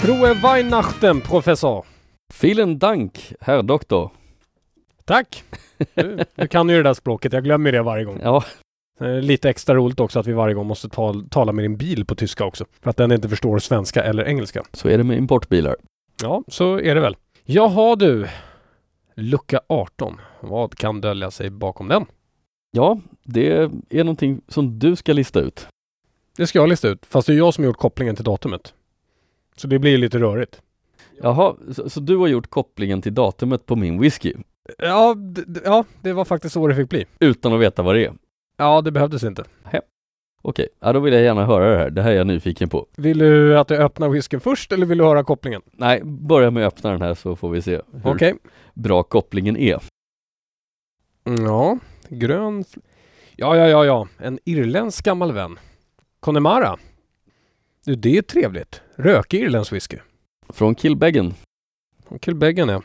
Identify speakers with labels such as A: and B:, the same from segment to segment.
A: Frohe Weihnachten, professor!
B: Vielen Dank, herr doktor.
A: Tack! Du, du kan ju det där språket, jag glömmer det varje gång.
B: Ja,
A: Det är Lite extra roligt också att vi varje gång måste tal- tala med din bil på tyska också. För att den inte förstår svenska eller engelska.
B: så är det med importbilar.
A: Ja, så är det väl. Jaha du. Lucka 18. Vad kan dölja sig bakom den?
B: Ja, det är någonting som du ska lista ut.
A: Det ska jag lista ut, fast det är jag som har gjort kopplingen till datumet. Så det blir lite rörigt.
B: Jaha, så, så du har gjort kopplingen till datumet på min whisky
A: Ja, d- d- ja, det var faktiskt så det fick bli.
B: utan att veta vad det är.
A: Ja, det behövdes inte.
B: Okej, ja, då vill jag gärna höra det här. Det här är jag nyfiken på.
A: Vill du att jag öppnar whiskyn först eller vill du höra kopplingen?
B: Nej, börja med att öppna den här så får vi se hur
A: Okej.
B: bra kopplingen är.
A: Mm, Ja, grön... Ja, ja, ja, ja. En irländsk gammal vän. Connemara. Du, det är trevligt. Rökig irländsk whisky.
B: Från Kilbeggen.
A: Från Kilbeggan, ja.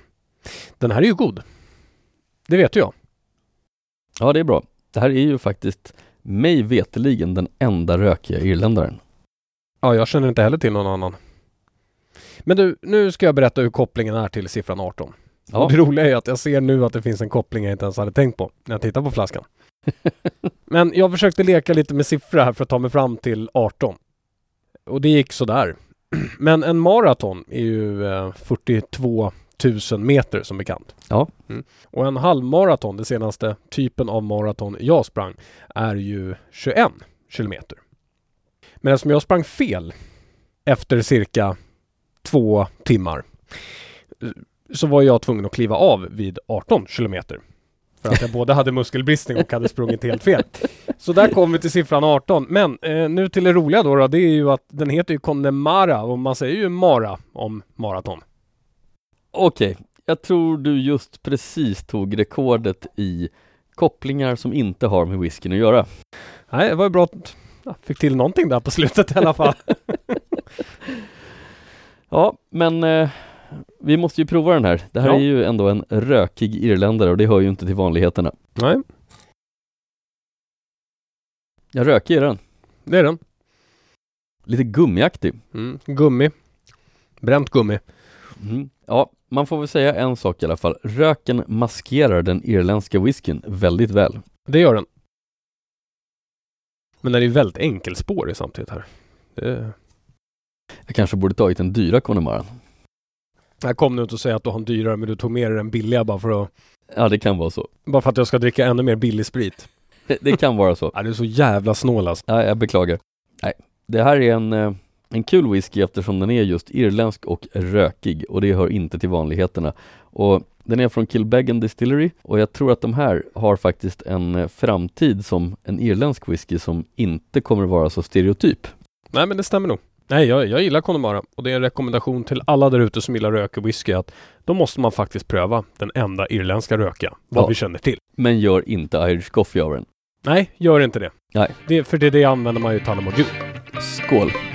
A: Den här är ju god. Det vet ju jag.
B: Ja, det är bra. Det här är ju faktiskt mig veteligen den enda rökiga irländaren.
A: Ja, jag känner inte heller till någon annan. Men du, nu ska jag berätta hur kopplingen är till siffran 18.
B: Ja.
A: Och det roliga är att jag ser nu att det finns en koppling jag inte ens hade tänkt på när jag tittar på flaskan. Men jag försökte leka lite med siffror här för att ta mig fram till 18. Och det gick sådär. Men en maraton är ju eh, 42 000 meter som bekant.
B: Ja.
A: Mm. Och en halvmaraton, den senaste typen av maraton jag sprang, är ju 21 kilometer. Men eftersom jag sprang fel efter cirka två timmar så var jag tvungen att kliva av vid 18 kilometer. För att jag både hade muskelbristning och hade sprungit helt fel. Så där kom vi till siffran 18. Men eh, nu till det roliga då, då, det är ju att den heter ju Connemara och man säger ju Mara om maraton.
B: Okej, jag tror du just precis tog rekordet i kopplingar som inte har med whiskyn att göra.
A: Nej, det var ju bra att jag fick till någonting där på slutet i alla fall.
B: Ja, men eh, vi måste ju prova den här. Det här
A: Ja.
B: är ju ändå en rökig irländare och det hör ju inte till vanligheterna.
A: Nej,
B: Jag röker i den.
A: det är den.
B: Lite gummiaktig.
A: Mm. Gummi. Bränt gummi.
B: Mm. Ja, man får väl säga en sak i alla fall. Röken maskerar den irländska whiskyn väldigt väl.
A: Det gör den. Men den är ju väldigt enkelspårig samtidigt här. Det...
B: Jag kanske borde tagit den dyra Connemara.
A: Jag kom nu inte att säga att du har en dyrare men du tog med dig den billiga bara för att
B: Ja, det kan vara så.
A: Bara för att jag ska dricka ännu mer billig sprit.
B: Det, det kan vara så.
A: Ja, du är så jävla snål alltså.
B: Ja, jag beklagar. Nej, det här är en, eh, en kul whisky eftersom den är just irländsk och rökig och det hör inte till vanligheterna. Och den är från Kilbeggan Distillery och jag tror att de här har faktiskt en eh, framtid som en irländsk whisky som inte kommer vara så stereotyp.
A: Nej, men det stämmer nog. Nej, jag, jag gillar Connemara och det är en rekommendation till alla där ute som gillar rök och whisky att då måste man faktiskt pröva den enda irländska röka, vad
B: Ja.
A: vi känner till.
B: Men gör inte Irish Coffee av den.
A: Nej, gör inte det.
B: Nej.
A: det för det, det använder man ju Tullamore Dew.
B: Skål!